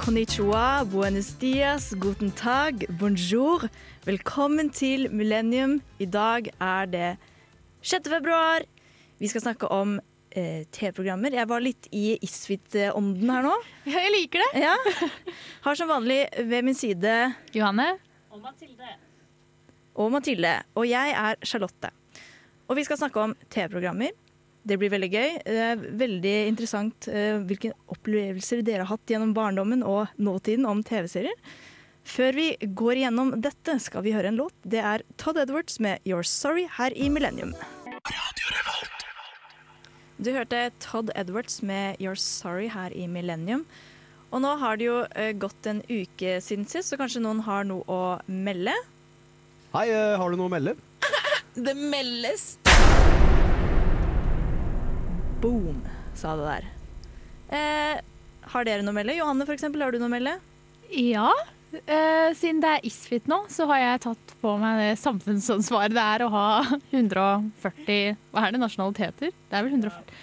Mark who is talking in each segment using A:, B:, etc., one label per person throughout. A: Konnichiwa, buenos dias, guten tag, bonjour. Velkommen til Millennium. I dag er det 6. februar. Vi skal snakke om eh, TV-programmer. Jeg var litt i Isfit-ånden her nå.
B: Ja, jeg liker det.
A: Ja. Har som vanlig ved min side
B: Johanne?
A: og Mathilde, og jeg er Charlotte. Og vi skal snakke om TV-programmer. Det blir veldig gøy. Det er veldig interessant eh, hvilke opplevelser dere har hatt gjennom barndommen og nåtiden om TV-serier. Før vi går igjennom dette, skal vi høre en låt. Det er Todd Edwards med 'You're Sorry' her i Millennium. Du hørte Todd Edwards med 'You're Sorry' her i Millennium. Og nå har det jo eh, gått en uke siden sist, så kanskje noen har noe å melde.
C: Hei, eh, har du noe å melde?
D: Det meldes.
A: Boom, sa det der. Eh, har dere noe å melde? Johanne, for eksempel, har du noe å melde?
B: Ja. eh, siden det er ISFIT nå, så har jeg tatt på meg det samfunnsansvaret det er å ha 140 Hva er det nasjonaliteter? Det er vel 140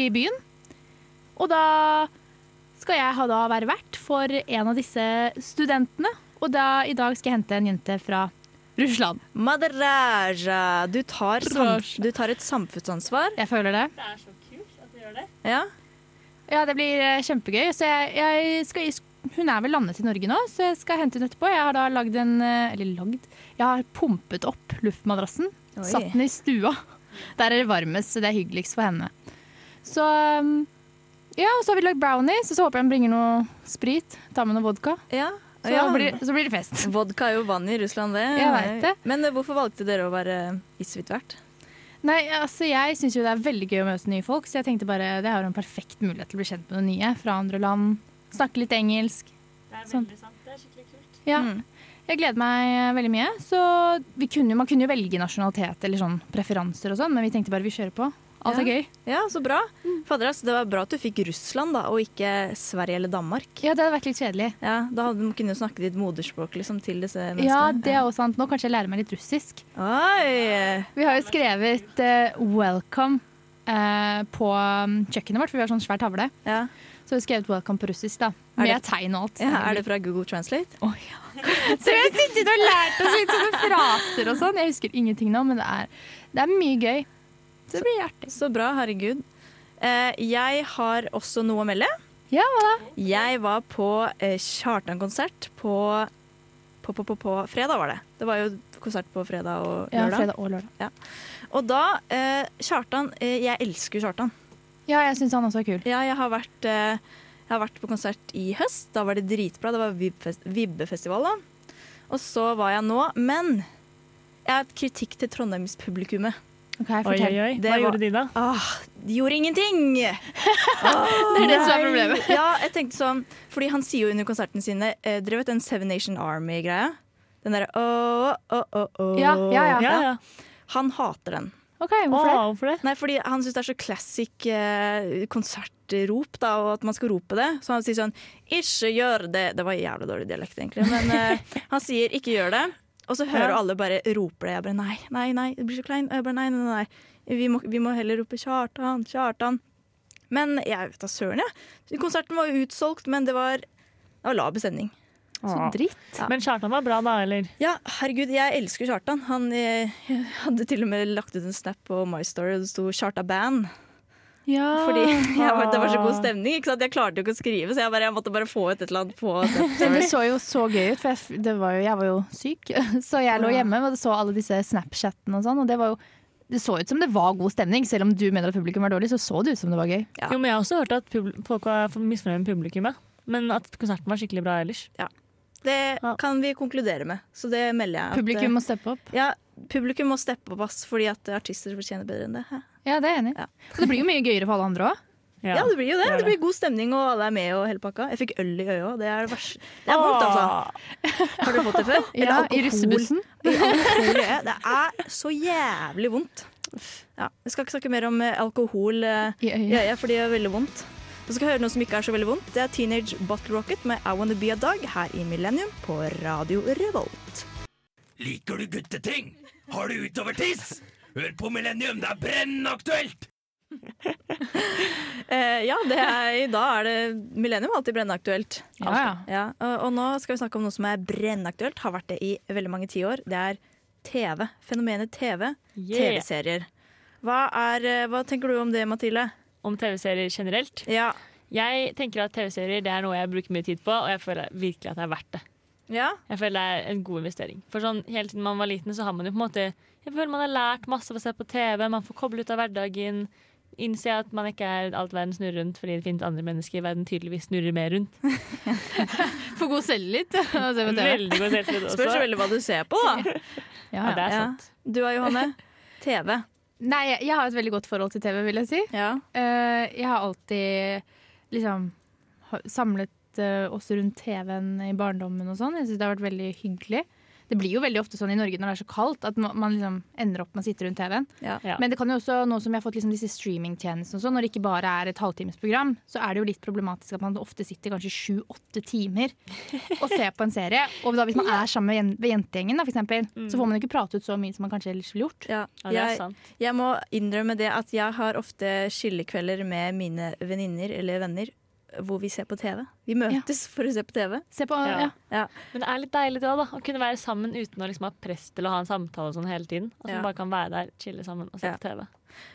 B: i byen. Og da skal jeg ha da være vert for en av disse studentene. Og da, i dag skal jeg hente en jente fra Russland.
A: Mother Raja, du tar, sam
B: Raja.
A: du tar et samfunnsansvar.
B: Jeg føler det.
E: Det er så kult at du gjør det.
A: Ja.
B: Ja, det blir eh, kjempegøy. Så jeg, jeg skal, i sk- hun er vel landet i Norge nå, så jeg skal hente hun etterpå. Jeg har da lagd en eh, Eller lagd Jeg har pumpet opp luftmadrassen.
A: Oi.
B: Satt den i stua. Der er det varmest, så det er hyggeligst for henne. Så um, Ja, og så har vi lagd brownies, og så håper jeg hun bringer noe sprit. Tar med noe vodka.
A: ja.
B: Så,
A: ja.
B: blir, så blir det fest.
A: Vodka er jo vann i Russland, det.
B: Jeg vet det.
A: Men eh, hvorfor valgte dere å være isvitvert?
B: Nei, altså jeg syns jo det er veldig gøy å møte nye folk, så jeg tenkte bare det er jo en perfekt mulighet til å bli kjent med noen nye fra andre land. Snakke litt engelsk.
E: Det er
B: Sant.
E: veldig sant. Det er skikkelig kult.
B: Ja.
A: Mm.
B: Jeg gleder meg eh, veldig mye. Så vi kunne, man kunne jo velge nasjonalitet eller sånn preferanser og sånn, men vi tenkte bare vi kjører på. Alt er gøy.
A: Ja, så bra.
B: Mm.
A: Fader, ass, det var bra at du fikk Russland, da, og ikke Sverige eller Danmark.
B: Ja, det hadde vært litt kjedelig.
A: Ja, Da hadde man kunnet snakke ditt moderspråk liksom, til disse menneskene.
B: Ja, det er også sant. Nå kanskje jeg lærer meg litt russisk.
A: Oi!
B: Vi har jo skrevet eh, 'welcome' eh, på um, kjøkkenet vårt, for vi har sånn svær tavle.
A: Ja.
B: Så har vi skrevet 'welcome' på russisk, da. Med tegn og alt.
A: Ja, er det fra Google Translate?
B: Så vi har sittet og lært oss litt sånne fraser og sånn. Jeg husker ingenting nå, men det er, det er mye gøy. Så det blir artig.
A: Så bra, herregud. Eh, jeg har også noe å melde.
B: Ja, hva da?
A: Jeg var på eh, Kjartan-konsert på, på, på, på, på fredag, var det. Det var jo konsert på fredag og
B: Ja,
A: lørdag.
B: fredag og lørdag.
A: Og da eh, Kjartan eh, Jeg elsker Kjartan.
B: Ja, jeg syns han også er kul.
A: Ja, jeg har vært, eh, jeg har vært på konsert i høst. Da var det dritbra. Det var Vibbefest- Vibbefestival, da. Og så var jeg nå. Men jeg har et kritikk til Trondheims-publikummet.
B: Ok, fortell.
F: oi.
A: Det var-
F: de da?
A: Ah, de gjorde ingenting! det
B: er det som er problemet.
A: ja, jeg tenkte sånn, fordi han sier jo under konsertene sine eh, Dere vet den Seven Nation Army-greia? Den derre åh, åh, åh, åh.
B: Ja, ja, ja.
F: Ja, ja.
A: Han hater den.
B: Ok, hvorfor det?
F: Å, hvorfor det?
A: Nei, fordi han syns det er så classic eh, konsertrop, da, og at man skal rope det. Så han sier sånn Ikke gjør det! Det var jævla dårlig dialekt, egentlig. Men eh, han sier ikke gjør det. Og så hører
F: Ja.
A: alle bare roper det. Jeg bare nei, nei, nei, det blir så klein. Og jeg bare nei, nei, nei. Vi må, vi må heller rope Kjartan, Kjartan. Men jeg vet da søren, jeg. Konserten var jo utsolgt, men det var, det var lav bestemning.
B: Så Sånn dritt.
A: Ja.
F: Men Kjartan var bra da, eller?
A: Ja, herregud, jeg elsker Kjartan. Han eh, hadde til og med lagt ut en snap på My Story, og det sto 'Kjarta Band'. Fordi
B: Ah,
A: jeg var, det var så god stemning. Ikke sant? Jeg klarte jo ikke å skrive, så jeg, bare, jeg måtte bare få ut et eller annet på
B: Men det
A: Snapchat.
B: så jo så gøy ut, for jeg, f- det var jo, jeg var jo syk. Så jeg lå hjemme og så alle disse Snapchatene og sånn. Og det, var jo, det så ut som det var god stemning, selv om du mener at publikum var dårlig. Så så det ut som det var gøy.
A: Ja.
F: Jo, men Jeg har også hørt at publ- folk var misfornøyd med publikummet. Men at konserten var skikkelig bra ellers.
A: Det
F: Ja.
A: kan vi konkludere med, så det melder jeg. at- eh,
B: Publikum må steppe opp.
A: ja, publikum må steppe opp, ass, fordi at artister fortjener bedre enn det. Hæ?
B: Ja, det er jeg enig i.
A: Ja.
B: Og det blir jo mye gøyere for alle andre òg.
A: Ja, det blir jo det.
F: det er
A: Det blir god stemning, og alle er med og hele pakka. Jeg fikk øl i øyet òg. Det er det verste. Det er vondt, altså. Har du fått det før? Eller
B: Ja, I
A: alkohol?
B: russebussen.
A: Alkohol i øyet. Det er så jævlig vondt. Ja, jeg skal ikke snakke mer om eh, alkohol. eh,
B: I øyet.
A: Ja, ja, for det gjør veldig vondt. Du skal høre noe som ikke er så veldig vondt. Det er Teenage Bottle Rocket med I Wanna Be A Dog her i Millennium på Radio Revolt.
G: Liker du gutteting? Har du utover tiss? Hør på Millennium, det er brennaktuelt!
A: Eh, Eh, ja, det er, da er det Millennium er alltid brennaktuelt.
B: Ja, ja.
A: Ja, og, og nå skal vi snakke om noe som er brennaktuelt, har vært det i veldig mange tiår. Det er TV. Fenomenet TV.
F: Yeah.
A: TV-serier. Hva, er, eh, hva tenker du om det, Mathilde?
F: Om TV-serier generelt.
A: Ja.
F: Jeg tenker at TV-serier det er noe jeg bruker mye tid på, og jeg føler virkelig at det er verdt det.
A: ja?
F: Jeg føler det er en god investering. For sånn, Helt siden man var liten, så har man jo på en måte Jeg føler man har lært masse av å se på TV, man får koble ut av hverdagen. Innse at man ikke er alt verden snurrer rundt, fordi det finnes andre mennesker verden tydeligvis snurrer mer rundt.
B: For god selvtillit. å se på TV.
F: Veldig god selvtillit også.
A: Spørs veldig hva du ser på, da.
B: Ja,
F: Ja,
B: ja.
F: det er
A: Ja.
F: sant.
A: Du da, Johanne? TV.
B: Nei, jeg jeg har et veldig godt forhold til TV, vil jeg si.
A: Ja.
B: Eh, jeg har alltid liksom ha- samlet eh, oss rundt TV-en i barndommen og sånn. Jeg syns det har vært veldig hyggelig. Det blir jo veldig ofte sånn i Norge når det er så kaldt at ma- man liksom ender opp med å sitte rundt TV-en.
A: Ja.
F: Ja.
B: Men det kan jo også, nå som vi har fått liksom disse streamingtjenestene og sånn, når det ikke bare er et halvtimesprogram, så er det jo litt problematisk at man ofte sitter kanskje sju-åtte timer og ser på en serie. Og da hvis man er sammen med jen- med jentegjengen, da, for eksempel,
F: Mm.
B: så får man jo ikke prate ut så mye som man kanskje ellers ville gjort.
A: Ja,
F: Ja, det er
A: jeg,
F: sant.
A: jeg må innrømme det at jeg har ofte chillekvelder med mine venninner eller venner hvor vi ser på TV. Vi møtes for å se på TV.
B: Se på,
F: Ja.
B: ja.
A: Ja.
F: Men det er litt deilig da, da å kunne være sammen uten å liksom ha press til å ha en samtale og sånn hele tiden. At
A: Ja.
F: man bare kan være der, chille sammen og se
A: Ja.
F: på TV.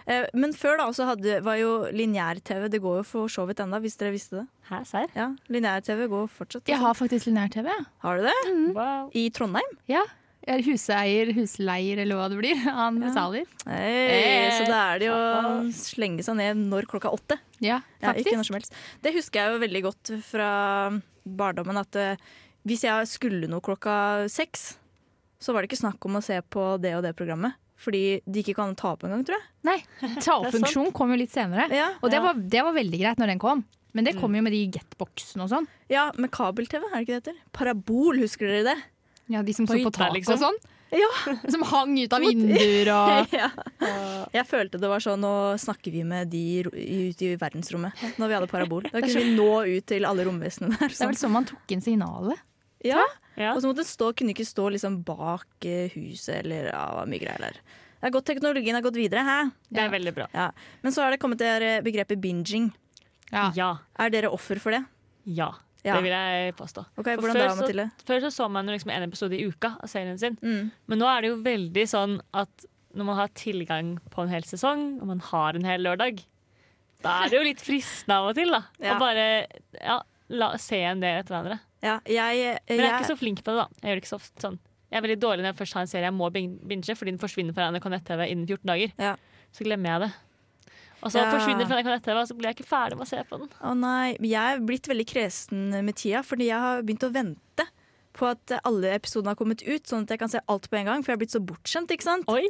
A: Eh, Men før da så hadde, var jo lineær-TV Det går jo for så vidt ennå, hvis dere visste det.
F: Hæ, serr?
A: Ja, Lineær-TV går fortsatt.
B: Jeg har faktisk lineær-TV. jeg.
A: Har du det?
F: Wow.
A: I Trondheim?
B: Ja. Jeg er huseier, husleier eller hva det blir. Han betaler.
A: Hey,
B: Eh,
A: så da er det jo å slenge seg ned når klokka åtte.
B: Ja,
A: Ja,
B: faktisk.
A: ikke når som helst. Det husker jeg jo veldig godt fra barndommen. At eh, hvis jeg skulle noe klokka seks, så var det ikke snakk om å se på det og det programmet. Fordi det gikk ikke an å ta opp engang, tror jeg.
B: Nei, Taoppfunksjon kom jo litt senere.
A: Ja,
B: Og det
F: Ja.
B: var, det var veldig greit når den kom. Men det kom jo med de getboxene og sånn.
A: ja med kabel-TV, er det ikke det heter? Parabol, husker dere det?
B: Ja, De som
F: På
B: så på
F: hytta,
B: taket
F: liksom.
B: og sånn.
A: Ja.
B: Som hang ut av vinduer og
A: ja. Jeg følte det var sånn Nå snakker vi med de ro- i- ute i verdensrommet når vi hadde parabol. Da kunne vi nå ut til alle romvesenene der.
B: Det er
A: Sånn.
B: vel sånn man tok inn signalet.
A: Ja.
F: Ja.
A: Og så måtte det stå, kunne det ikke stå liksom bak eh, huset eller ja, det var mye greier der. Det er godt teknologien har gått videre, hæ?
F: Det er veldig bra.
A: Ja. Men så har det kommet det her eh, begrepet binging.
B: Ja.
F: Ja.
A: Er dere offer for det?
F: Ja.
A: Ja.
F: Det vil jeg påstå.
A: Ok,
F: For
A: Hvordan
F: før
A: da,
F: så-
A: Mathilde?
F: Før så, så man jo liksom en episode i uka av serien sin.
A: Mm.
F: Men nå er det jo veldig sånn at når man har tilgang på en hel sesong, og man har en hel lørdag, da er det jo litt fristende av og til, da.
A: Ja.
F: Å bare ja, la, se en del etter hverandre.
A: Ja, jeg, eh,
F: Men jeg er ikke
A: jeg,
F: så flink på det, da. Jeg gjør det ikke så ofte sånn. Jeg er veldig dårlig når jeg først har en serie jeg må bin- binge, fordi den forsvinner fra NRK Nett-TV innen 14 dager.
A: Ja.
F: Så glemmer jeg det. Og så
A: Ja.
F: forsvinner den fra NRK Nett-TV, og så blir jeg ikke ferdig med å se på den.
A: å nei, jeg er blitt veldig kresen med tida, fordi jeg har begynt å vente på at alle episodene har kommet ut, sånn at jeg kan se alt på en gang. For jeg har blitt så bortskjemt, ikke sant?
F: Oi!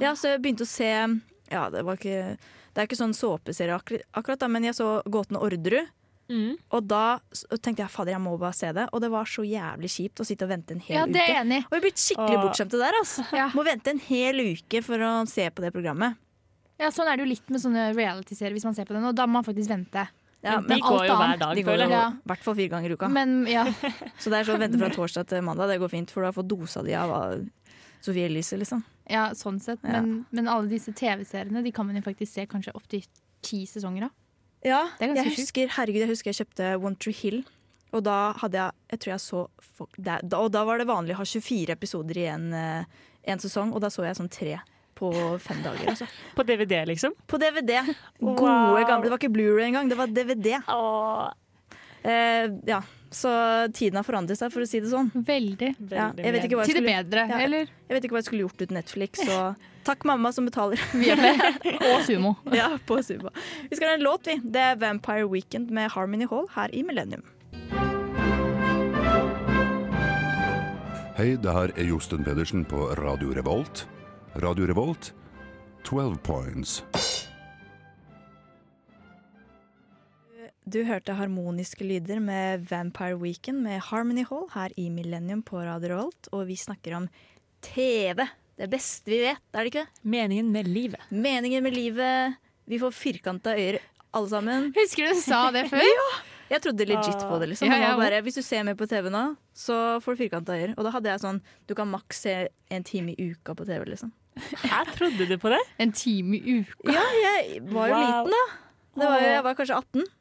A: Ja, så jeg begynte å se Ja, det var ikke Det er ikke sånn såpeserie akkur- akkurat, da, men jeg så Gåten og Orderud.
F: Mm.
A: Og da s- og tenkte jeg fader, jeg må bare se det. Og det var så jævlig kjipt å sitte og vente en hel
B: Ja, det er
A: uke.
B: jeg enig i.
A: Og jeg er blitt skikkelig
F: Åh.
A: bortskjemt det der. Altså.
B: Ja.
A: Må vente en hel uke for å se på det programmet.
B: Ja, sånn er det jo litt med sånne reality-serier hvis man ser på den, og da må man faktisk vente.
A: Ja,
F: de
A: men
B: alt
F: går jo hver
B: annet,
F: dag,
A: de går
F: føler
A: jo
F: jeg.
B: Ja.
A: i hvert fall fire ganger i uka.
B: Men ja,
A: Så det er sånn å vente fra torsdag til mandag. Det går fint, for du har fått dosa di av av Sofie Elise, liksom.
B: ja sånn sett.
A: Ja.
B: Men, men alle disse TV-seriene de kan man jo faktisk se kanskje opptil ti sesonger av.
A: Ja,
B: Det er ganske
A: jeg husker, herregud, jeg husker jeg kjøpte One Tree Hill. Og da hadde jeg, jeg tror jeg så folk, det, da, Og da var det vanlig å ha 24 episoder i en, eh, en sesong, og da så jeg sånn tre på fem dager. Altså.
F: På DVD, liksom.
A: På DVD. Gode,
F: Wow.
A: gamle. Det var ikke Blu-ray engang, det var DVD.
F: Åh,
A: Eh, ja, Så tiden har forandret seg, for å si det sånn.
B: Veldig.
F: veldig
A: Ja, jeg, vet ikke
F: mye.
A: hva jeg,
B: Til det
A: skulle,
B: bedre,
A: Ja.
B: eller?
A: jeg vet ikke hva jeg skulle gjort uten Netflix, så takk mamma som betaler.
B: Og sumo.
A: ja, på Suba. Vi skal ha en låt, vi. Det er Vampire Weekend med Harmony Hall her i Millennium.
H: Hei, det her er Josten Pedersen på Radio Revolt. Radio Revolt, 12 points.
A: Du hørte harmoniske lyder med Vampire Weekend med Harmony Hall her i Millennium på Radio Rolt, og vi snakker om TV. Det beste vi vet, er det ikke det?
F: Meningen med livet.
A: Meningen med livet. Vi får firkanta øyer, alle sammen.
B: Husker du du sa det før?
A: Jeg trodde legit på det. liksom.
B: Ja, ja,
A: Jeg bare, hvis du ser mer på TV nå, så får du firkanta øyer. Og da hadde jeg sånn Du kan maks se en time i uka på TV, liksom.
F: Hæ, trodde du på det?
B: En time i uka.
A: Ja, jeg var jo
F: Wow.
A: liten, da. Det var, jeg var kanskje 18.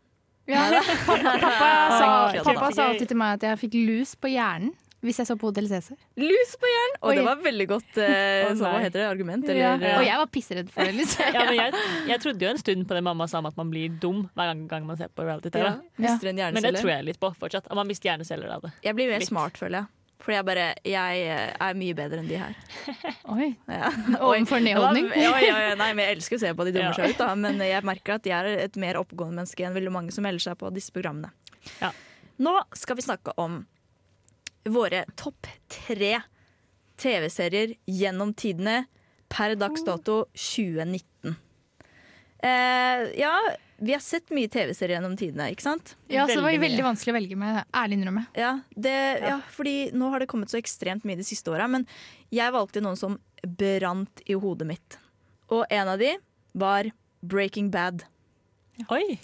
B: Pappa sa,
F: Kødda.
B: pappa sa alltid til meg at jeg fikk lus på hjernen hvis jeg så på Hotell Cæsar.
A: Lus på hjernen! Og
B: Oi.
A: det var veldig godt eh,
F: Å,
A: så, Hva
F: nei.
A: heter det? Argument?
B: Ja.
A: Eller,
B: Og jeg var pissredd for det. Liksom.
F: Ja, men jeg, jeg trodde jo en stund på det mamma sa om at man blir dum hver gang- gang man ser på reality-TV.
A: Ja, mister en
F: Men det
A: hjerneceller.
F: tror
A: Jeg.
F: jeg litt på fortsatt. At man mister hjerneceller av det.
A: blir mer
F: Litt.
A: smart, føler jeg. Fordi jeg bare Jeg eh, er mye bedre enn de her.
B: Oi,
A: Ja.
B: Ovenfor nedholdning.
A: Ja, ja, ja, nei, men jeg elsker å se på de
F: Ja.
A: dummer seg ut, da. Men jeg merker at jeg er et mer oppegående menneske enn veldig mange som melder seg på disse programmene.
F: Ja.
A: Nå skal vi snakke om våre topp tre TV-serier gjennom tidene per dags
F: Oh.
A: dato 2019. Eh, ja, vi har sett mye TV-serier gjennom tidene, ikke sant?
B: Ja, så det var
F: Veldig
B: veldig vanskelig å velge med. Ærlig innrømme.
A: Ja, det, ja, fordi nå har det kommet så ekstremt mye de siste åra. Men jeg valgte noen som brant i hodet mitt. Og en av de var Breaking Bad.
F: Oi!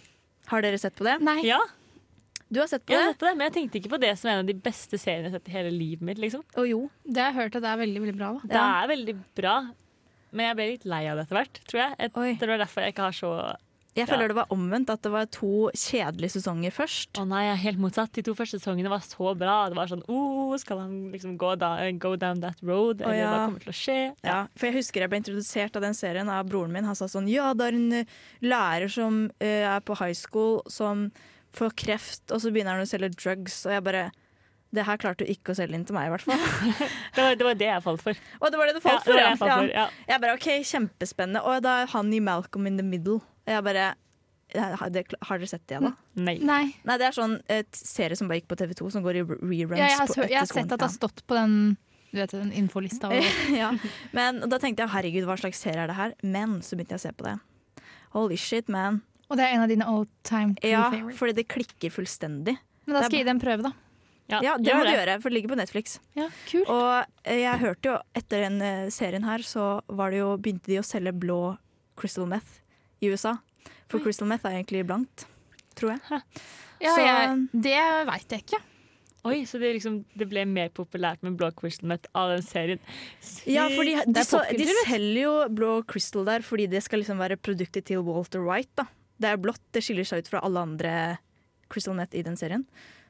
A: Har dere sett på det?
B: Nei.
F: Ja,
A: Du har sett på
F: jeg
A: det?
F: vet det, men jeg tenkte ikke på det som en av de beste seriene jeg har sett i hele livet mitt. liksom.
A: Å jo.
B: Det har jeg hørt at det er veldig veldig bra. Da.
F: Det
A: Ja.
F: er veldig bra, men jeg ble litt lei av det etter hvert, tror jeg. Jeg
A: Oi.
F: tror det var derfor jeg ikke har så
A: Jeg
F: Ja.
A: føler det var omvendt, at det var to kjedelige sesonger først.
F: Å nei, jeg er helt motsatt. De to første sesongene var så bra. Det var sånn oh, skal han liksom gå da, go down that road? Eller
A: ja.
F: hva kommer til å skje?
A: Ja, for Jeg husker jeg ble introdusert av den serien av broren min. Han sa sånn Ja, det er en eh, lærer som eh, er på high school som får kreft, og så begynner han å selge drugs. Og jeg bare Det her klarte du ikke å selge inn til meg, i hvert fall.
F: Det, var, det var det jeg falt for.
A: Og det var det du
F: Ja,
A: falt
F: det
A: for,
F: var
A: ja.
F: det jeg falt for.
A: Ja.
F: Ja.
A: Jeg bare, ok, kjempespennende. Og da er han i Malcolm in the Middle. Og jeg bare, ja, har det- har dere sett det da?
B: Mm.
F: Nei.
B: Nei.
A: Nei, det er sånn et serie som bare gikk på TV 2, som går i re- reruns
B: Ja, jeg, har,
A: på,
B: så-
A: etter
B: jeg har sett
A: skolen.
B: at det har stått på den, du vet, den infolista. Og,
A: ja. Men da tenkte jeg, herregud, hva slags serie er det her? Men så begynte jeg å se på det. Holy shit, man.
B: og det er en av dine all time true
A: Ja,
B: favorites.
A: fordi det klikker fullstendig.
B: Men da
A: det er
B: skal jeg gi det en prøve, da.
A: Ja, det
F: gjør
A: må du gjøre, for det ligger på Netflix.
B: Ja, kult.
A: Og eh, jeg hørte jo, etter den eh, serien her, så var det jo, begynte de å selge blå crystal meth i USA. For crystal meth er egentlig blankt, tror jeg.
B: Ja,
A: så-
B: jeg, det veit jeg ikke.
F: Oi, så det, liksom, det ble mer populært med blå crystal meth av den serien.
A: Ja, for de,
B: Det
A: de,
B: er
A: så, de
B: popkultur, vet du.
A: selger jo blå crystal der fordi det skal liksom være produktet til Walter White. da. Det er blått, det skiller seg ut fra alle andre crystal meth i den serien.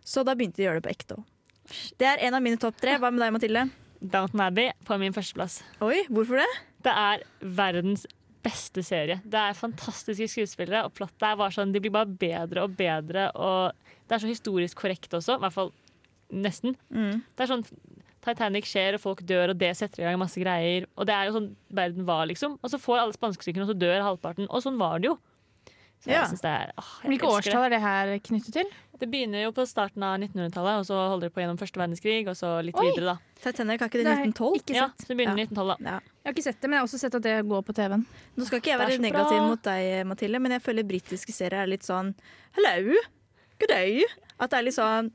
A: Så da begynte de å gjøre det på ekte òg. Det er en av mine topp tre. Hva med deg, Mathilde?
F: Downton Abbey på min førsteplass.
A: Oi, hvorfor det?
F: Det er verdens beste serie. Det er fantastiske skuespillere, og plottet er bare sånn, de blir bare bedre og bedre. Og det er så historisk korrekt også, i hvert fall nesten.
A: Mm.
F: Det er sånn Titanic skjer, og folk dør, og det setter i gang masse greier. Og det er jo sånn verden var, liksom. Og så får alle spanskesyken, og så dør halvparten. Og sånn var det jo. Så
A: Ja.
F: jeg synes det er, åh, jeg
B: Hvilke
F: elsker det.
B: årstall er det her knyttet til?
F: Det begynner jo på starten av 1900-tallet, og så holder det på gjennom første verdenskrig, og så litt
B: Oi.
F: videre, da.
A: Titanic, har ikke det
B: Nei,
A: 1912?
F: Ja, så det begynner
A: Ja.
F: 1912, da.
A: Ja.
B: Jeg har ikke sett det, men jeg har også sett at det går på TV-en.
A: Nå skal ikke jeg
F: Det er
A: være
F: så
A: negativ
F: bra.
A: mot deg, Mathilde, men jeg føler britiske serier er litt sånn Hello, good day. At det er litt sånn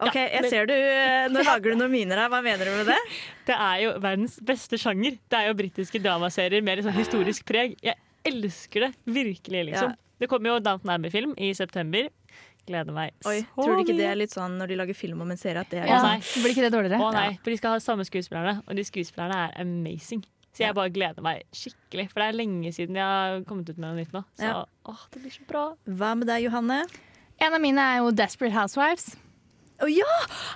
A: OK,
F: Ja,
A: jeg
F: men-
A: ser du eh, Nå lager du noen miner her, hva mener du med det?
F: Det er jo verdens beste sjanger. Det er jo britiske dramaserier med litt sånn historisk preg. Jeg elsker det virkelig, liksom.
A: Ja.
F: Det kommer jo Downton Abbey-film i september. Gleder meg
A: Oi,
F: så
A: tror du ikke det
F: mye.
A: er litt sånn når de lager film om en serie, at det er litt
F: Ja.
A: sånn,
F: nei.
B: Blir ikke det dårligere?
F: Å nei, for de skal ha samme skuespillerne, og de skuespillerne er amazing. Så jeg bare gleder meg skikkelig, for det er lenge siden jeg har kommet ut med noe nytt nå. Så
A: Ja.
F: åh, det blir så bra.
A: sånn Hva med deg, Johanne?
B: En av mine er jo Desperate Housewives.
A: Å ja!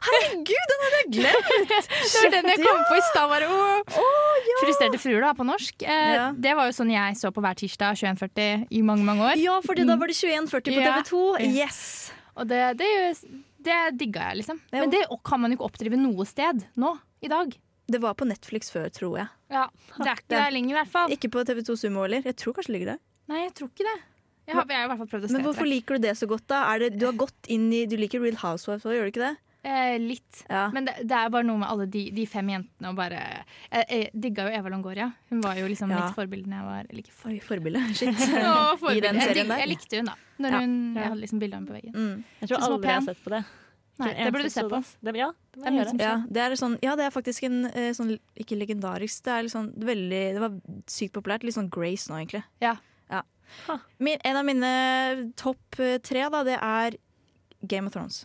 A: Herregud, den hadde jeg glemt!
B: Det var den jeg kom på i stad. bare, åh.
A: ja.
B: Frustrerte fruer, da, på norsk. Eh,
A: Ja.
B: Det var jo sånn jeg så på hver tirsdag 21.40 i mange, mange år.
A: Ja, fordi da var det 21.40 på
B: Ja.
A: TV 2. Yes!
B: Og det, det, det digga jeg, liksom.
A: Ja.
B: Men det kan man jo ikke oppdrive noe sted nå. I dag.
A: Det var på Netflix før, tror jeg.
B: Ja, Det er ikke der lenger, i hvert fall.
A: Ikke på TV2 Sumo heller. Jeg tror kanskje det ligger der.
B: Nei, jeg tror ikke det. Jeg har, jeg har i hvert fall prøvd å se
A: Men hvorfor
B: etter.
A: liker du det så godt, da? Er det, du har gått inn i Du liker Real Housewives òg, gjør du ikke det?
B: Eh, litt.
A: Ja.
B: Men det, det er bare noe med alle de, de fem jentene og bare Jeg, jeg digga jo Eva Longoria. Hun var jo liksom
A: Ja.
B: mitt forbilde når jeg var Eller ikke
A: Oi, forbilde. Shit.
B: Å,
A: I den
B: forbilde. Jeg,
A: serien
B: dig-
A: der.
B: jeg likte hun, da. Når
A: Ja.
B: hun,
F: Ja.
B: jeg hadde liksom bilde av henne på veggen.
A: Mm.
F: Jeg tror
B: Synes den var
F: aldri jeg har
B: pen.
F: sett på det.
B: Nei,
F: Ikke en
B: det burde du
F: eneste
B: se på.
F: episode. Det, ja, det må
B: Det er
F: jeg
B: mye
F: gjøre.
B: som
A: Ja, det er, sånn, ja, det er faktisk en eh, sånn ikke legendarisk Det er litt sånn veldig Det var sykt populært. Litt sånn Grace nå, egentlig.
B: Ja.
A: Ja.
F: Ha.
A: eh, Min, en av mine topp eh, tre, da, det er Game of Thrones.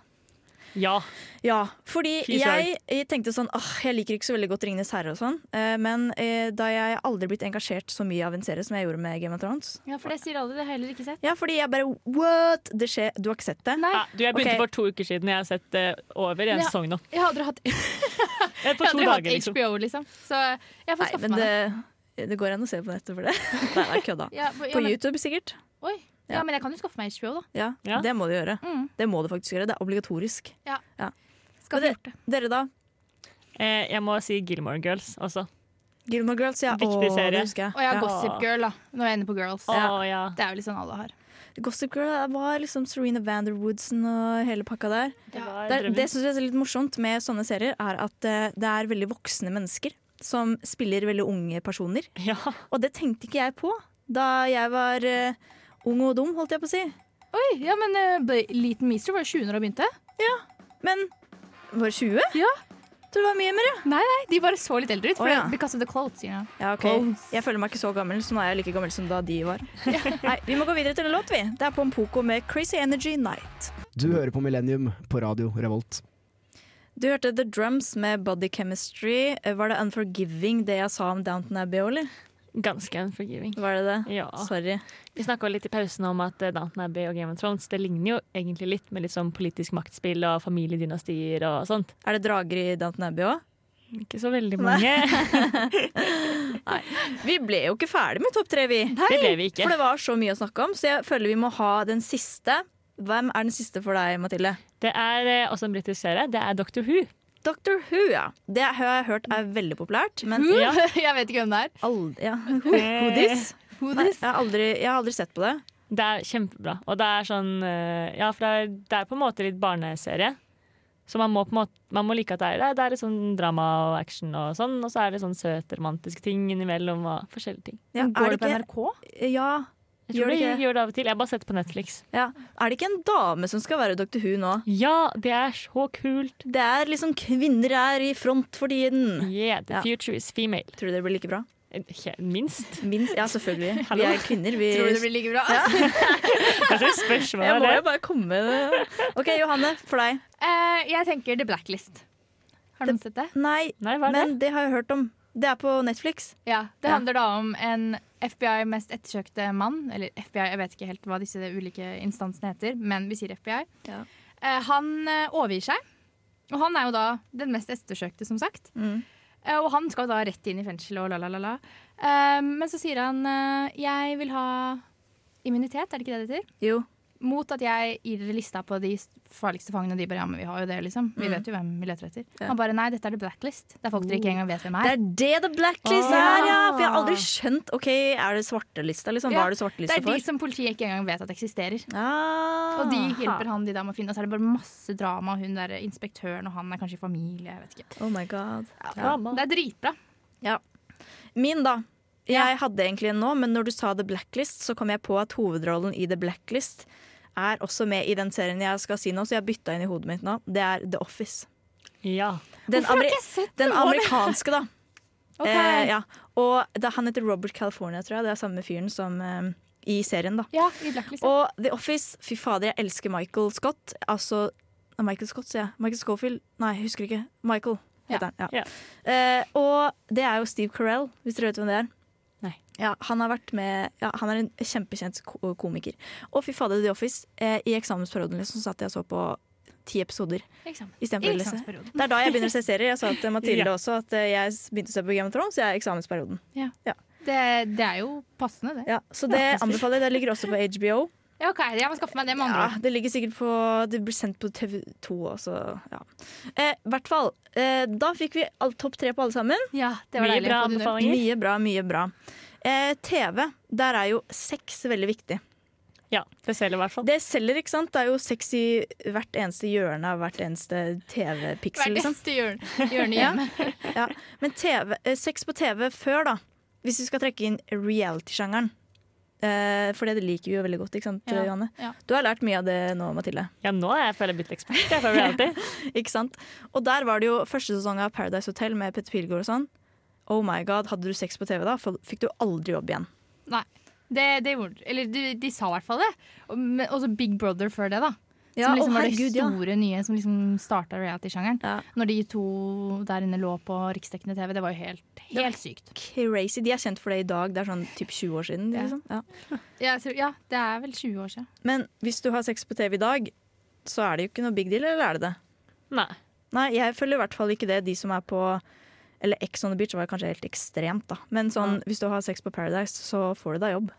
F: Ja.
A: Ja, fordi
F: Fy
A: jeg, jeg tenkte sånn Åh, jeg liker ikke så veldig godt 'Ringenes herre' og sånn. eh, Men eh, da jeg aldri blitt engasjert så mye av en serie som jeg gjorde med Game of Thrones.
B: Ja, for det sier alle. Det har jeg heller ikke sett.
A: Ja, fordi jeg bare What? Det skjer Du har ikke sett det?
B: Nei,
F: Ja, du, jeg begynte
A: Ok.
F: for to uker siden. Jeg har sett det over i en
B: Ja.
F: sesong nå.
B: jeg har aldri hatt, jeg
F: Eh, På
B: har
F: to
B: aldri hatt
F: dager, liksom.
B: HBO, liksom. Så jeg får
A: Nei,
B: skaffe
A: men
B: meg det.
A: det, det går an å se på nettet for det. Nei, det er kødda.
B: Ja, på, ja,
A: På
B: men,
A: YouTube sikkert.
B: oi.
A: Ja.
B: Ja, men jeg kan jo skaffe meg HBO, da.
A: Ja,
F: Ja.
A: det må du gjøre.
B: Mm.
A: Det må du faktisk gjøre. Det er obligatorisk.
B: Skal
A: Men
B: få
A: det-
B: gjort det.
A: Dere da?
F: Eh, jeg må si Gilmore Girls også.
A: Gilmore Girls, ja.
F: Viktig
A: Åh,
F: serie.
A: det husker jeg.
B: Og jeg har
A: Ja.
B: Gossip Girl, da. Når jeg er inne på Girls.
F: Å
A: Ja.
F: ja.
B: Det er jo litt sånn alle har.
A: Gossip Girl var liksom Serena Vanderwoodsen og hele pakka der.
F: Det var
A: Det, er- det
F: drømmen.
A: synes jeg er litt morsomt med sånne serier, er at eh, det er veldig voksne mennesker som spiller veldig unge personer.
F: Ja.
A: Og det tenkte ikke jeg på da jeg var eh, ung og dum, holdt jeg på å si.
B: Oi, ja, men eh, Bla- Leighton Meester var jo 20 når hun begynte.
A: Men var 20?
B: Ja.
A: Tror det var mye mer, ja.
B: Nei, de bare så litt eldre ut. For
A: Å, ja.
B: Because of the clothes, you know.
A: ja ok. Jeg føler meg ikke så gammel, så nå er jeg like gammel som da de var. Nei, Vi må gå videre til en låt, vi. Det er Pompoko med 'Crazy Energy Night'.
C: Du hører på Millennium på radio Revolt.
A: Du hørte The Drums med 'Body Chemistry'. Var det 'Unforgiving' det jeg sa om Downton Abbey, eller?
F: Ganske unforgiving.
A: Var det det?
F: Ja.
A: Sorry.
F: Vi snakka litt i pausen om at eh, Downton Abbey og Game of Thrones det ligner jo egentlig litt med litt sånn politisk maktspill og familiedynastier og sånt.
A: Er det drager i Downton Abbey òg?
F: Ikke så veldig mange.
A: Vi ble jo ikke ferdig med topp tre, vi.
F: Det ble vi ikke.
A: For det var så mye å snakke om, så jeg føler vi må ha den siste. Hvem er den siste for deg, Mathilde?
F: Det er eh, også en britisk serie. Det er Doctor Who.
A: Doctor Who, ja. Det har jeg hørt er veldig populært. Men
B: Who?
F: Ja.
B: jeg vet ikke hvem det er.
A: aldri, ja. Who, who this?
B: Who
A: Nei,
B: this?
A: jeg, har aldri, jeg har aldri sett på det.
F: Det er kjempebra. Og det er sånn eh, Ja, for det er, det er på en måte litt barneserie. Så man må, på en måte, man må like at det er, det er- det er litt sånn drama og action og sånn. Og så er det sånn søt romantiske ting innimellom og forskjellige ting.
A: Ja,
B: Går
A: er
B: det
A: det
B: på
A: ikke,
B: NRK?
A: ja, Gjør
F: Jeg tror
A: det
F: det
A: ikke?
F: gjør det av og til. Jeg har bare sett på Netflix.
A: ja. Er det ikke en dame som skal være Doctor Who nå?
F: Ja, det er så kult!
A: Det er liksom kvinner er i front for tiden.
F: Yeah, the
A: Ja.
F: future is female.
A: Tror du det blir like bra?
F: Eh, ikke- Minst.
A: Minst, ja, selvfølgelig.
F: Hallo?
A: Vi er kvinner. Vi,
B: Tror du det blir like bra?
F: Kanskje
A: jeg
F: spørsmålet
A: må
F: er
A: jo
F: det.
A: bare komme med det. OK, Johanne, for deg.
B: Eh, jeg tenker The Blacklist. Har noen sett det?
A: Nei,
F: Nei, hva er det?
A: men det har jeg hørt om. Det er på Netflix.
B: Ja, Det
A: Ja.
B: handler da om en FBI mest ettersøkte mann. Eller FBI, jeg vet ikke helt hva disse ulike instansene heter, men vi sier FBI.
A: Ja.
B: Eh, han eh, overgir seg, og han er jo da den mest ettersøkte, som sagt.
A: Mm.
B: Eh, og han skal da rett inn i fengsel og la, la, la, la. Eh, men så sier han eh, jeg vil ha immunitet, er det ikke det det heter?
A: Jo.
B: Mot at jeg gir dere lista på de farligste fangene, og de bare ja, men vi har jo det, liksom. Vi
A: Mm.
B: vet jo hvem vi leter etter.
A: Ja.
B: Han bare nei, dette er the blacklist. Det er folk dere ikke engang vet hvem
A: Det
B: er.
A: er det The Blacklist
F: Ah.
A: er, ja! For jeg har aldri skjønt OK, er det svartelista, liksom?
B: Ja,
A: Hva er det
B: Det
A: svartelista
B: er de
A: for?
B: som politiet ikke engang vet at eksisterer.
A: Ah.
B: Og de hjelper han de da med å finne, og så er det bare masse drama. og Hun der inspektøren og han er kanskje i familie, jeg vet ikke.
A: Oh my god.
F: Drama.
B: Det er dritbra.
A: Min, da. Jeg
B: Ja.
A: hadde egentlig en nå, men når du sa The Blacklist, så kom jeg på at hovedrollen i The Blacklist er også med i den serien jeg skal si nå, så jeg har bytta inn i hodet mitt nå. Det er The Office.
F: Ja.
A: Den, ameri- den amerikanske, da.
B: Ok.
A: Eh, ja. Og da, han heter Robert California, tror jeg. Det er samme fyren som eh, i serien, da.
B: Ja, i Blacklist. ja.
A: Og The Office, fy fader, jeg elsker Michael Scott. Altså nei, Michael Scott, sier jeg. Michael Schofield. Nei, jeg husker ikke. Michael heter han.
F: Ja.
A: Ja. Eh, og det er jo Steve Carell, hvis dere vet hvem det er.
F: Nei.
A: Ja, han, har vært med, ja, han er en kjempekjent ko- komiker. Og fy fader, The Office. Eh, I eksamensperioden liksom, satt jeg og så på ti episoder
B: Eksamen. I
A: istedenfor å lese.
B: eksamensperioden.
A: Det er da jeg begynner å se serier. Jeg sa til Mathilde
F: Ja.
A: også at eh, jeg begynte å se på Game of Thrones. Jeg er i eksamensperioden.
B: Det, det er jo passende, det.
A: Ja, så det anbefaler jeg. Det ligger også på HBO.
B: Ja, ok, Jeg må skaffe meg det med andre
A: Ja,
B: ord.
A: det ligger sikkert på Det blir sendt på TV2 også. Ja. Eh, hvert fall. Eh, da fikk vi all, topp tre på alle sammen.
B: Ja, det var
F: Mye
B: deilig.
F: bra
B: å få det unna.
F: anbefalinger.
A: Mye bra, mye bra. Eh, TV, der er jo sex veldig viktig.
F: Ja, det selger i hvert fall.
A: Det selger, ikke sant? Det er jo sex i hvert eneste hjørne av hvert eneste TV-piksel.
B: Hvert
A: Liksom.
B: eneste hjørne, hjørne hjemme.
A: Ja. Men TV, eh, sex på TV før, da. Hvis vi skal trekke inn reality-sjangeren. Eh, for det liker vi jo veldig godt, ikke sant,
B: Ja,
A: Johanne?
B: ja.
A: Du har lært mye av det nå, Mathilde.
F: Ja, nå er jeg føler jeg blitt ekspert. Jeg føler reality.
A: Ikke sant? Og der var det jo første sesong av Paradise Hotel med Petter Pilgaard og sånn. Oh my god, hadde du sex på TV da, f- fikk du aldri jobb igjen.
B: Nei, det, det gjorde Eller de, de sa i hvert fall det. Og, men også Big Brother før det, da.
A: Ja,
B: som
A: å,
B: liksom var det
A: herregud, ja.
B: store nye som liksom starta reality-sjangeren.
A: Ja.
B: Når de to der inne lå på riksdekkende TV, det var jo helt, helt sykt.
A: Crazy. De er kjent for det i dag. Det er sånn typ 20 år siden.
B: Ja.
A: Liksom. Ja.
B: Ja, jeg tror- ja, det er vel 20 år siden.
A: Men hvis du har sex på TV i dag, så er det jo ikke noe big deal, eller er det det?
F: Nei.
A: Nei, jeg føler i hvert fall ikke det. De som er på Eller Ex on the beach var kanskje helt ekstremt, da. Men sånn, hvis du har sex på Paradise, så får du deg jobb.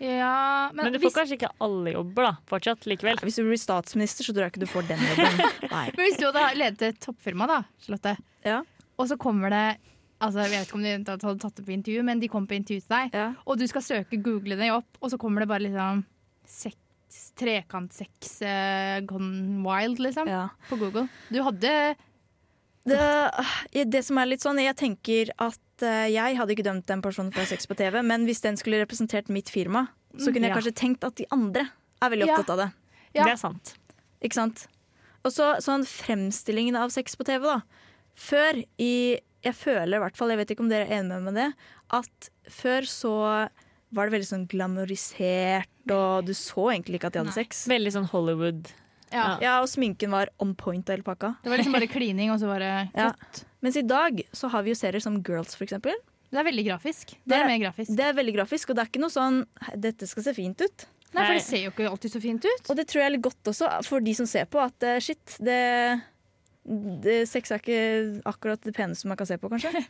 B: Ja, men,
F: Men du får
B: hvis,
F: kanskje ikke alle jobber, da. Fortsatt, likevel.
A: Nei, Hvis du blir statsminister, så tror jeg ikke du får den jobben. Nei.
B: men hvis du hadde ledet et toppfirma, da, Charlotte,
A: Ja.
B: og så kommer det Altså, Jeg vet ikke om de eventuelt hadde tatt det på intervju, men de kom på intervju til deg.
A: Ja.
B: Og du skal søke, google det opp, og så kommer det bare liksom seks, trekantsex eh, gone wild, liksom,
A: Ja.
B: på Google. Du hadde
A: Det, det som er litt sånn, jeg tenker at eh, jeg hadde ikke dømt den personen for å ha sex på TV, men hvis den skulle representert mitt firma, så kunne jeg
F: Ja.
A: kanskje tenkt at de andre er veldig
B: Mm, Ja.
A: opptatt av det.
B: Ja.
F: Det er sant.
A: Ikke sant? Og så sånn fremstillingen av sex på TV, da. Før i Jeg føler i hvert fall, jeg vet ikke om dere er enig med meg i det, at før så var det veldig sånn glamorisert, og du så egentlig ikke at de hadde
B: Nei.
A: sex.
F: Veldig sånn Hollywood.
B: Ja.
A: Ja, og sminken var on point og hele pakka.
B: Det var liksom bare klining, og så bare
A: Ja. Mens i dag så har vi jo serier som Girls, for eksempel.
B: Det er veldig grafisk. Det,
A: Det-
B: er mer grafisk.
A: Det er veldig grafisk, og det er ikke noe sånn Dette skal se fint ut.
B: Nei,
F: Nei.
B: for det ser jo ikke alltid så fint ut.
A: Og det tror jeg er litt godt også for de som ser på, at eh, shit, det, det Sex er ikke akkurat det peneste man kan se på, kanskje.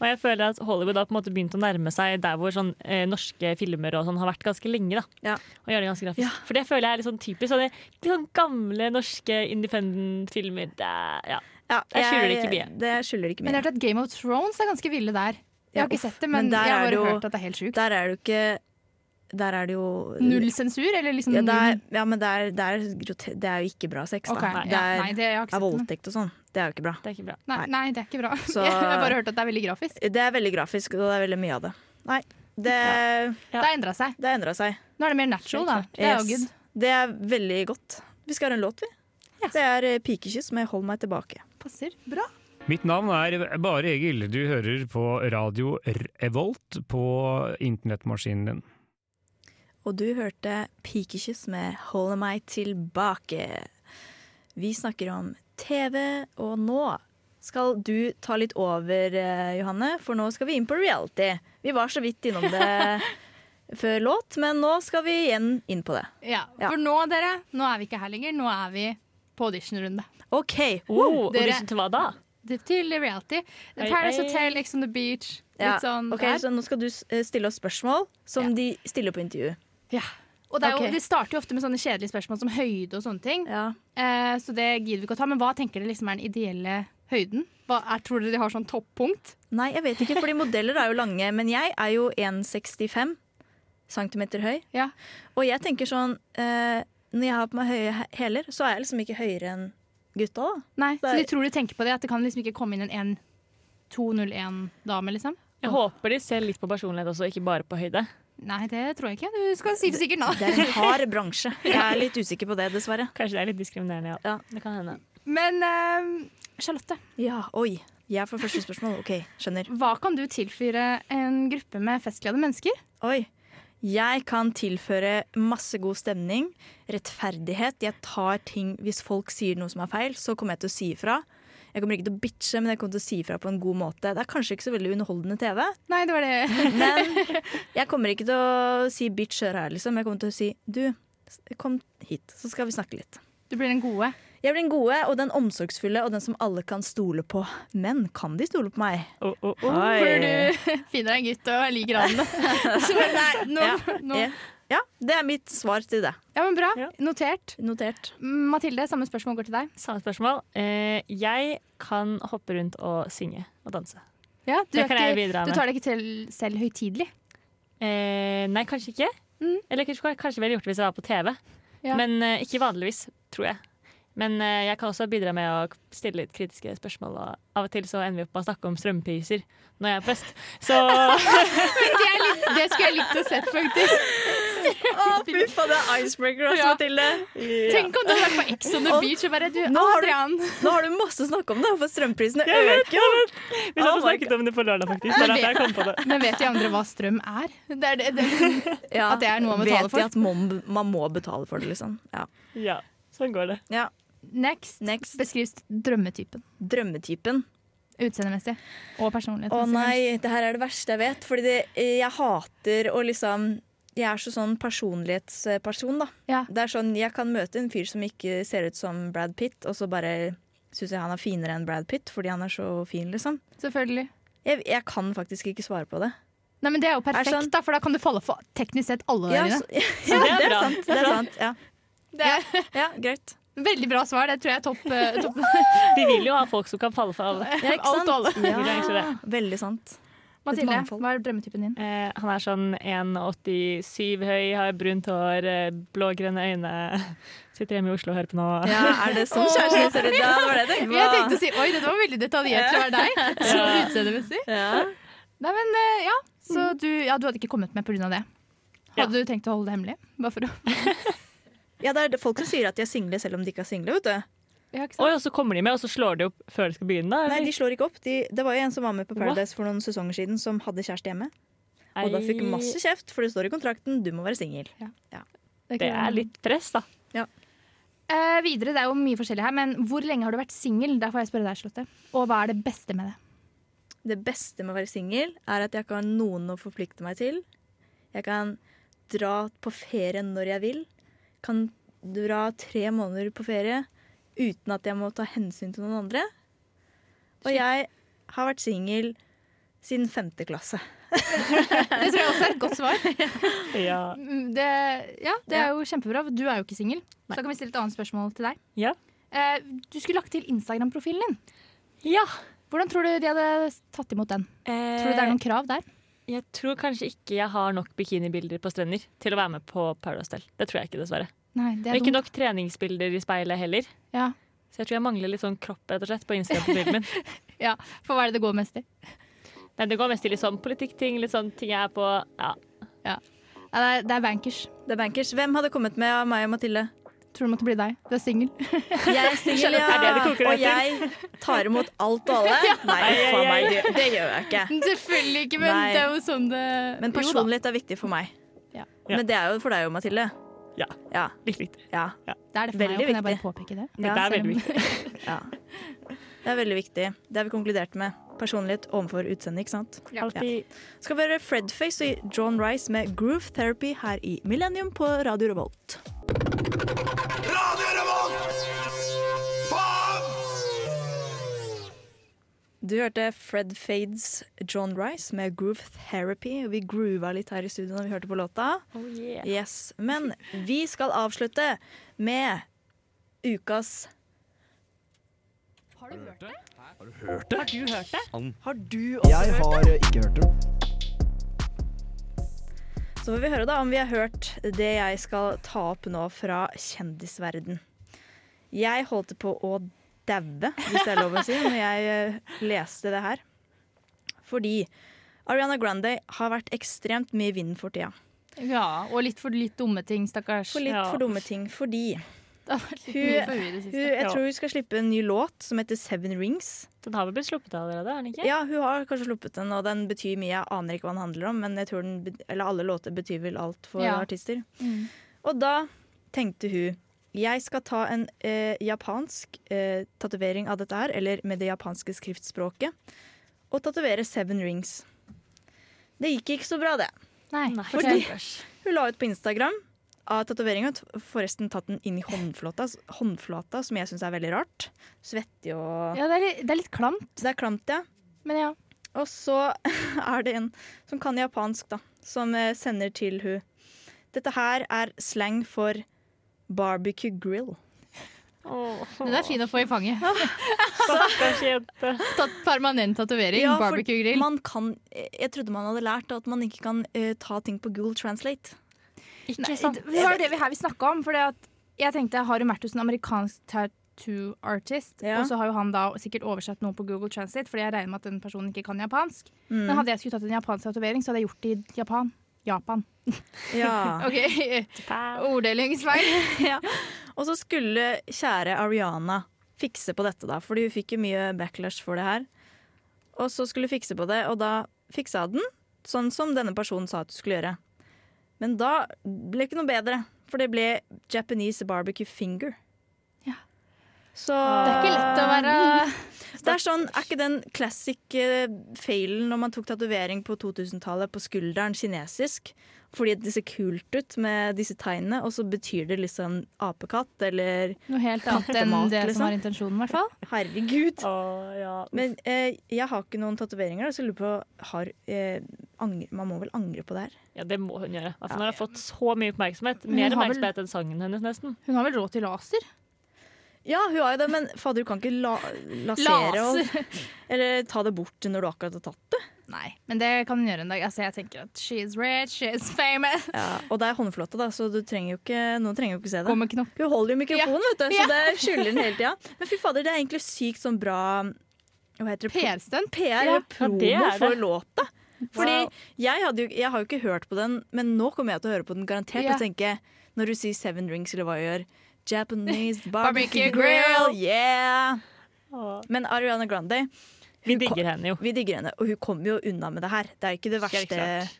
F: Og jeg føler at Hollywood har på en måte begynt å nærme seg der hvor sånn, eh, norske filmer og sånn har vært ganske lenge. da.
A: Ja.
F: Og gjør det ganske grafisk. For det føler jeg er litt sånn typisk. Sånne, litt sånn gamle norske independent-filmer. Det er- Ja.
A: Ja,
F: Jeg skylder det ikke mye.
A: Det skylder ikke
B: Men jeg
A: mye.
B: har hørt at Game of Thrones er ganske ville der. Jeg
A: Ja,
B: har ikke
A: uff,
B: sett det,
A: men
B: men,
A: der
B: jeg har
A: er det
B: bare
A: jo-
B: hørt at det er helt sjukt.
A: Der er det jo ikke Der er det jo
B: Null sensur, eller liksom
A: Ja, det er,
B: null-
A: ja men det er, det, er, grote- det er jo ikke bra sex, da.
B: Ok,
A: Det
B: ja,
A: er,
B: nei, det jeg har
A: er
B: ikke sett det.
A: voldtekt og sånn. Det er jo ikke bra.
F: Det er ikke bra.
B: Nei, nei, det er ikke bra.
A: Så-
B: Jeg har bare hørt at det er veldig grafisk.
A: Det er veldig grafisk, og det er veldig mye av det. Nei, det,
F: Ja.
B: Det har endra seg.
A: det har endra seg.
B: Nå er det mer natural, da.
F: Helt
B: Det er jo
A: Yes.
B: good.
A: Det er veldig godt. Vi skal ha en låt, vi. Det er eh, 'Pikekyss' med 'Hold meg tilbake'.
B: Passer bra.
I: Mitt navn er Bare Egil. Du hører på radio Revolt på internettmaskinen din.
A: Og du hørte 'Pikekyss' med 'Hold meg tilbake'. Vi snakker om TV, og nå skal du ta litt over, eh, Johanne, for nå skal vi inn på reality. Vi var så vidt innom det før låt, men nå skal vi igjen inn på det.
B: Ja,
A: Ja.
B: For nå, dere, nå er vi ikke her lenger. Nå er vi på auditionrunde.
A: OK.
F: Oh,
B: dere-
F: audition til hva da?
B: Det- Til reality.
F: Oi,
B: Paradise
F: oi.
B: Hotel, Ex on the Beach.
A: Ja,
B: Litt sånn
A: ok,
B: der.
A: så nå skal du s- eh, stille oss spørsmål som
B: Ja.
A: de stiller på intervju.
B: Ja. Og det, er jo,
A: Ok.
B: det starter jo ofte med sånne kjedelige spørsmål som høyde og sånne ting.
A: Ja.
B: Eh, så det gidder vi ikke å ta. Men hva tenker dere liksom er den ideelle høyden? Hva er, tror dere de har sånn toppunkt?
A: Nei, jeg vet ikke, fordi modeller er jo lange, men jeg er jo 1,65 cm høy.
B: Ja.
A: Og jeg tenker sånn eh, Når jeg har på meg høye he- hæler, så er jeg liksom ikke høyere enn gutta, da.
B: Nei,
A: Det
B: Så
A: er-
B: de tror de tenker på det, at det kan liksom ikke komme inn en 1-2-0-1-dame, liksom?
F: Jeg håper de ser litt på personlighet også, ikke bare på høyde.
B: Nei, det tror jeg ikke. Du skal si for sikkert nå.
A: Det er en hard bransje. Jeg er litt usikker på det, dessverre.
F: Kanskje det er litt diskriminerende, ja.
A: Ja.
F: Det kan hende.
B: Men eh, Charlotte,
A: Ja, oi. Jeg får første spørsmål. OK, skjønner.
B: hva kan du tilfyre en gruppe med festglade mennesker?
A: Oi. Jeg kan tilføre masse god stemning, rettferdighet. Jeg tar ting Hvis folk sier noe som er feil, så kommer jeg til å si ifra. Jeg kommer ikke til å bitche, men jeg kommer til å si ifra på en god måte. Det er kanskje ikke så veldig underholdende TV,
B: Nei, det var det.
A: men jeg kommer ikke til å si 'bitch, hør her', liksom. Jeg kommer til å si 'du, kom hit, så skal vi snakke litt'.
B: Du blir den gode.
A: Jeg blir den gode og den omsorgsfulle og den som alle kan stole på. Men kan de stole på meg?
F: Oh, oh, oh.
B: For du finner deg en gutt og liker han. Så bare, nei, nå,
A: Ja.
B: nå.
A: Ja. ja, det er mitt svar til det.
B: Ja, men bra.
F: Ja.
B: Notert.
A: Notert.
B: Mathilde, samme spørsmål går til deg.
F: Samme spørsmål. Eh, jeg kan hoppe rundt og synge og danse.
B: Ja, du,
F: Det
B: er
F: kan jeg bidra
B: ikke, du
F: med.
B: tar deg ikke til selv høytidelig.
F: Eh, nei, kanskje ikke.
B: Mm.
F: Eller kanskje, kanskje ville gjort det hvis jeg var på TV.
B: Ja.
F: Men eh, ikke vanligvis, tror jeg. Men eh, jeg kan også bidra med å stille litt kritiske spørsmål. Og av og til så ender vi opp med å snakke om strømpriser når jeg er på fest. Så
B: Det, er litt, det skulle jeg likt å sett, faktisk.
A: Å, fy faen, det er icebreaker, altså,
B: Ja.
A: Mathilde.
B: Tenk om du hadde vært på Ex on the Beach og bare du,
A: Nå har du-
B: Adrian.
A: Nå har du masse å snakke om, da, for strømprisene øker jo.
F: vi satt og snakket om det på lørdag, faktisk. Det er derfor jeg kom på det.
B: Men vet de andre hva strøm er? Det er det, det.
A: Ja,
B: At det er noe man betaler
A: vet
B: for.
A: de at man, man må betale for det, liksom. Ja.
F: Ja. Sånn går det.
A: Ja.
B: Next.
A: Next.
B: Beskriv drømmetypen.
A: Drømmetypen.
B: Utseendemessig og personlighet.
A: Å nei, det her er det verste jeg vet. Fordi det, jeg hater å liksom Jeg er så sånn personlighetsperson, da.
B: Ja.
A: Det er sånn, Jeg kan møte en fyr som ikke ser ut som Brad Pitt, og så bare syns jeg han er finere enn Brad Pitt fordi han er så fin, liksom.
B: Selvfølgelig.
A: Jeg, jeg kan faktisk ikke svare på det.
B: Nei, men Det er jo perfekt,
A: Er det sånn-
B: da, for da kan du falle for teknisk sett alle
A: Ja,
B: dine.
A: så, ja,
F: Så det
A: det
F: er
A: er
F: bra.
A: sant. Det er sant ja.
B: Det er
A: ja, greit.
B: Veldig bra svar. Det tror jeg er topp. eh, topp.
F: Vi vil jo ha folk som kan falle for alle.
A: Ja, ikke
B: Alt
A: sant?
B: og
F: Vi vil egentlig det.
A: Ja, veldig sant. Et
B: Mathilde,
A: mangfold.
B: hva er drømmetypen din?
F: Eh, han er sånn 1,87 høy, har brunt hår, eh, blågrønne øyne. Sitter hjemme i Oslo og hører på nå.
A: Ja, er det sånn kjæresten din ser ut? Ja, det var det jeg tenkte på.
B: Jeg tenkte å si oi, dette var veldig detaljert til å være deg. Så utseendemessig.
A: Ja.
B: Nei, men eh, ja. Så du, ja, du hadde ikke kommet med pga. det.
F: Ja.
B: Hadde du tenkt å holde det hemmelig? Bare for å
A: Ja, det er folk som sier at de er single selv om de ikke er single. vet du.
B: ja, ikke sant?
F: Oi, og så kommer de med, og så slår de opp før de skal begynne. Da,
A: Nei,
F: eller?
A: De slår ikke opp. De, det var jo en som var med på Paradise for noen sesonger siden som hadde kjæreste hjemme. Og da fikk masse kjeft, for det står i kontrakten du må være singel.
B: Det er
F: Det
B: ikke noe-
F: er litt press, da.
B: Eh, videre, Det er jo mye forskjellig her, men hvor lenge har du vært singel? Der får jeg spørre deg, Charlotte. Og hva er det beste med det?
A: Det beste med å være singel er at jeg ikke har noen å forplikte meg til. Jeg kan dra på ferie når jeg vil. Kan dra tre måneder på ferie uten at jeg må ta hensyn til noen andre. Og jeg har vært singel siden femte klasse.
B: Det tror jeg også er et godt svar.
F: Ja.
B: Mm, Det, ja, det er jo kjempebra. for Du er jo ikke singel. Så da kan vi stille et annet spørsmål til deg.
F: Ja.
B: Eh, du skulle lagt til Instagram-profilen din.
F: ja.
B: Hvordan tror du de hadde tatt imot den? Tror du det
A: Eh,
B: er noen krav der?
F: Eh, Jeg tror kanskje ikke jeg har nok bikinibilder på strender til å være med på Paradise Hotel. Det tror jeg ikke, dessverre.
B: Nei, det
F: Og
B: er
F: ikke
B: dumt.
F: nok treningsbilder i speilet heller.
B: Ja.
F: Så jeg tror jeg mangler litt sånn kropp rett og slett på Instagram-profilen min.
B: For hva er det det går mest i?
F: Nei, det går mest til litt sånn politikkting, litt sånn ting jeg er på. Ja.
B: Ja, det, er, det er bankers.
A: Det er bankers. Hvem hadde kommet med av meg og Mathilde?
B: Tror det måtte bli deg. Du er singel.
A: Jeg er singel,
F: Charlotte, er det det
A: ja.
F: koker
A: Og jeg tar imot alt og alle. Nei, faen meg, det, det gjør jeg ikke.
B: Selvfølgelig ikke,
A: men Nei. det er
B: jo sånn det
A: Men personlighet er viktig for meg.
B: Ja.
A: Men det er jo for deg jo, Mathilde.
F: Ja.
A: Ja,
F: Litt viktig.
A: ja,
B: Det er det for meg,
A: Veldig
B: og kan jeg bare
A: viktig.
B: påpeke det?
F: Det
A: Ja,
F: er
B: selv om-
F: veldig viktig.
A: ja. Det er veldig viktig. Det har vi konkludert med. Personlighet overfor utseende, ikke sant?
F: Alltid.
A: Skal vi høre Fredface og John Rice med Groove Therapy her i Millennium på Radio Revolt.
H: Radio Revolt! Faen!
A: Du hørte Fred Fades John Rice med Groove Therapy. Vi groova litt her i studio når vi hørte på låta.
F: Oh, yeah.
A: Yes, Men vi skal avslutte med ukas Har du hørt det? Har du hørt det? Har du også
C: Jeg
A: hørt det?
C: har eh, ikke hørt det.
A: Så får vi høre da om vi har hørt det jeg skal ta opp nå fra kjendisverden. Jeg holdt på å daue, hvis det er lov å si, når jeg eh, leste det her. Fordi Ariana Grande har vært ekstremt mye i vinden for tida.
B: Ja, og litt for litt dumme ting, stakkars.
A: For litt
F: Ja.
A: for dumme ting. Fordi
B: Det har vært litt
A: Hun-
B: mye for henne i det
A: hun,
B: siste.
A: jeg tror hun skal slippe en ny låt som heter Seven Rings.
F: Den har vel blitt sluppet allerede, har den ikke?
A: Ja, hun har kanskje sluppet den, og den betyr mye. Jeg aner ikke hva den handler om, men jeg tror den, bet- eller alle låter betyr vel alt for
B: Ja.
A: artister.
B: Mm.
A: Og da tenkte hun jeg skal ta en eh, japansk eh, tatovering av dette her, eller med det japanske skriftspråket, og tatovere Seven Rings. Det gikk ikke så bra, det.
B: Nei,
F: Nei,
B: fortell.
A: Hun la ut på Instagram av tatoveringa. Forresten tatt den inn i håndflata, håndflata som jeg syns er veldig rart. Svettig og
B: Ja, det, er litt, det er litt klamt,
A: Det er klamt, ja.
B: men ja.
A: Og så er det en som kan japansk, da, som eh, sender til hun. Dette her er slang for barbecue grill.
F: Åh,
B: Den er fin å få i fanget.
F: Stakkars jente.
B: Tatt permanent tatovering,
A: Ja, for
B: barbecue grill.
A: Man kan, eh, jeg trodde man hadde lært at man ikke kan eh, ta ting på Google Translate.
F: Ikke sant?
B: Det var det vi her vi snakka om. For jeg tenkte, har hun vært hos en amerikansk tattoo artist,
A: Ja.
B: og så har jo han da sikkert oversatt noe på Google Translate, fordi jeg regner med at den personen ikke kan japansk.
A: Mm.
B: Men hadde jeg skulle tatt en japansk tatovering, så hadde jeg gjort det i Japan. Japan.
A: Mm, Ja.
B: OK,
F: Ah.
B: orddelingsfeil.
A: Og så skulle kjære Ariana fikse på dette, da, fordi hun fikk jo mye backlash for det her. Og så skulle hun fikse på det, og da fiksa hun den, sånn som denne personen sa at hun skulle gjøre. Men da ble det ikke noe bedre, for det ble Japanese barbecue finger. Så
J: Det er ikke lett å være
A: Det er sånn, er ikke den classic eh, feilen når man tok tatovering på 2000-tallet på skulderen kinesisk? Fordi det ser kult ut med disse tegnene, og så betyr det liksom apekatt eller
J: noe helt annet enn
A: Kattemat,
J: det som
A: liksom.
J: var intensjonen, i hvert fall.
A: herregud.
F: Å, ja.
A: Men eh, jeg har ikke noen tatoveringer, så jeg lurer på har, eh, angre, Man må vel angre på det her?
F: ja, det må hun gjøre. Hun har fått så mye oppmerksomhet. Mer
J: Hun har vel-
F: oppmerksomhet enn sangen hennes, nesten.
J: Hun har vel råd til laser?
A: Ja, hun har jo det, men fader, du kan ikke la lasere og, eller ta det bort når du akkurat har tatt det.
J: Nei.
B: Men det kan hun gjøre en dag. Altså, jeg tenker at she's rich, she's famous.
A: Ja, og det er håndflate, da, så du trenger jo ikke, noen trenger jo ikke se det.
B: Gå med knopp.
A: Hun holder jo mikrofonen, vet du, så det skjuler den hele tida. Men fy fader, det er egentlig sykt sånn bra Hva heter det?
B: PR-stunt.
A: PR
F: Ja,
A: eller promo
F: det er det.
A: for låta. Fordi
F: Wow.
A: jeg, hadde jo, jeg har jo ikke hørt på den, men nå kommer jeg til å høre på den garantert
J: Ja.
A: og tenke Når du sier Seven Rings eller hva jeg gjør Japanese barbecue
B: Barbecue
A: grill,
B: grill.
A: yeah!
F: Åh.
A: Men Ariana Grande,
F: Vi digger henne jo.
A: vi digger henne, og hun kommer jo unna med det her. Det er ikke det
F: Helt
A: verste
F: klart.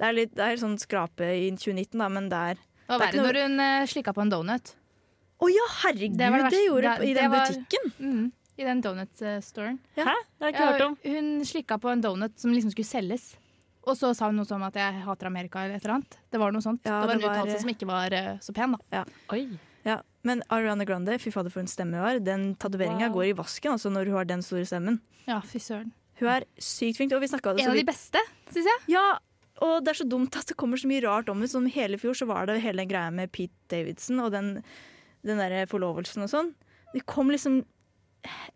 A: Det er litt det er sånn skrape i 2019, da, men det er
B: Det var
A: Det er
B: verre
A: ikke
B: når hun eh, slikka på en donut.
A: Å ja, herregud,
B: Det var det
A: det,
B: verste.
A: gjorde
B: Det-
A: hun i
B: det
A: den
B: var-
A: butikken!
B: Mm. I den eh, donut-storen.
F: Hæ? Det har jeg ikke hørt
B: Ja,
F: om.
B: hun slikka på en donut som liksom skulle selges. Og så sa hun noe sånn at jeg hater Amerika eller et eller annet. Det var noe sånt.
A: Ja,
B: det var
A: det
B: en
A: var-
B: uttalelse som ikke var eh, så pen, da.
F: Oi.
A: Ja, Men Ariana Grande, fy fader for en stemme hun har. Den tatoveringa
F: Wow.
A: går i vasken altså når hun har den store stemmen.
B: Ja, fy søren.
A: Hun er sykt flink. Og vi snakket det
B: En
A: så
B: av de
A: vidt.
B: beste, syns jeg.
A: Ja, og det er så dumt at det kommer så mye rart om henne. Som hele fjor så var det hele den greia med Pete Davidson og den, den der forlovelsen og sånn. Det kom liksom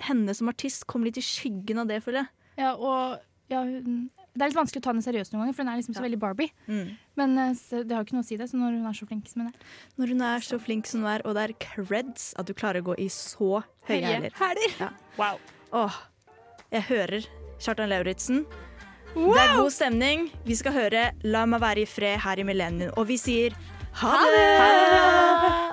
A: Henne som artist kom litt i skyggen av det, føler jeg.
B: Ja, og ja, hun, det er litt vanskelig å ta henne seriøst noen ganger, for hun er liksom så veldig Barbie.
A: Mm.
B: Men eh, så det har jo ikke noe å si det, så når hun er så flink som hun er.
A: Når hun er så flink som hun er, og det er creds at du klarer å gå i så høye hæler.
B: Hæler!
F: Wow.
A: Åh, jeg hører Kjartan Lauritzen. Det er god stemning. Vi skal høre 'La meg være i fred' her i Millennium, og vi sier ha det!